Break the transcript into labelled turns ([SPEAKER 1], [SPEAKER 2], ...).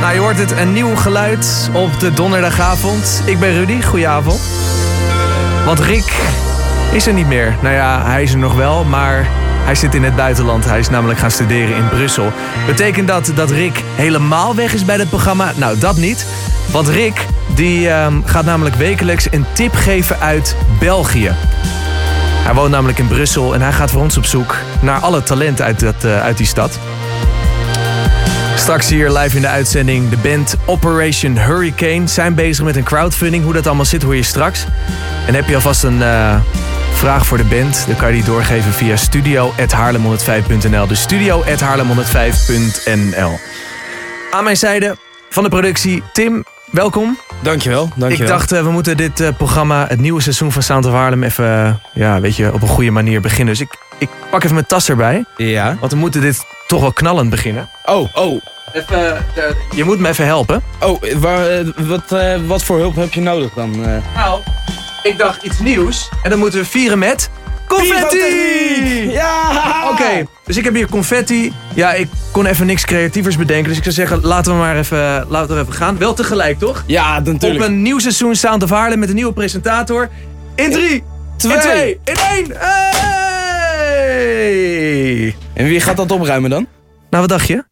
[SPEAKER 1] Nou, je hoort het, een nieuw geluid op de donderdagavond. Ik ben Rudy, goedenavond. Want Rick is er niet meer. Nou ja, hij is er nog wel, maar hij zit in het buitenland. Hij is namelijk gaan studeren in Brussel. Betekent dat dat Rick helemaal weg is bij het programma? Nou, dat niet. Want Rick die, ehm, gaat namelijk wekelijks een tip geven uit België. Hij woont namelijk in Brussel en hij gaat voor ons op zoek naar alle talent uit, dat, eh, uit die stad. Straks hier live in de uitzending de band Operation Hurricane. Zijn bezig met een crowdfunding. Hoe dat allemaal zit hoor je straks. En heb je alvast een eh, vraag voor de band? Dan kan je die doorgeven via studio.haarlem105.nl. Dus studio.haarlem105.nl Aan mijn zijde van de productie Tim, welkom.
[SPEAKER 2] Dankjewel, dankjewel.
[SPEAKER 1] Ik dacht, eh, we moeten dit eh, programma, het nieuwe seizoen van Sound of Haarlem, even eh, ja, weet je, op een goede manier beginnen. Dus ik, ik pak even mijn tas erbij,
[SPEAKER 2] Ja.
[SPEAKER 1] want we moeten dit toch wel knallend beginnen.
[SPEAKER 2] Oh, oh,
[SPEAKER 1] Even, eh, je moet me even helpen.
[SPEAKER 2] oh, eh, waar, eh, wat, eh, wat voor hulp heb je nodig dan? eh?
[SPEAKER 1] Nou, ik dacht iets nieuws. En dan moeten we vieren met confetti!
[SPEAKER 2] Ja!
[SPEAKER 1] Oké, dus ik heb hier confetti. Ja, ik kon even niks creatievers bedenken. Dus ik zou zeggen, laten we maar even, eh, laten we even gaan. Wel tegelijk, toch?
[SPEAKER 2] Ja, natuurlijk.
[SPEAKER 1] Op een nieuw seizoen Sound of Haarlem met een nieuwe presentator. In drie,
[SPEAKER 2] twee.
[SPEAKER 1] in twee, in één. Hey!
[SPEAKER 2] En wie gaat dat opruimen dan?
[SPEAKER 1] Nou, wat dacht je?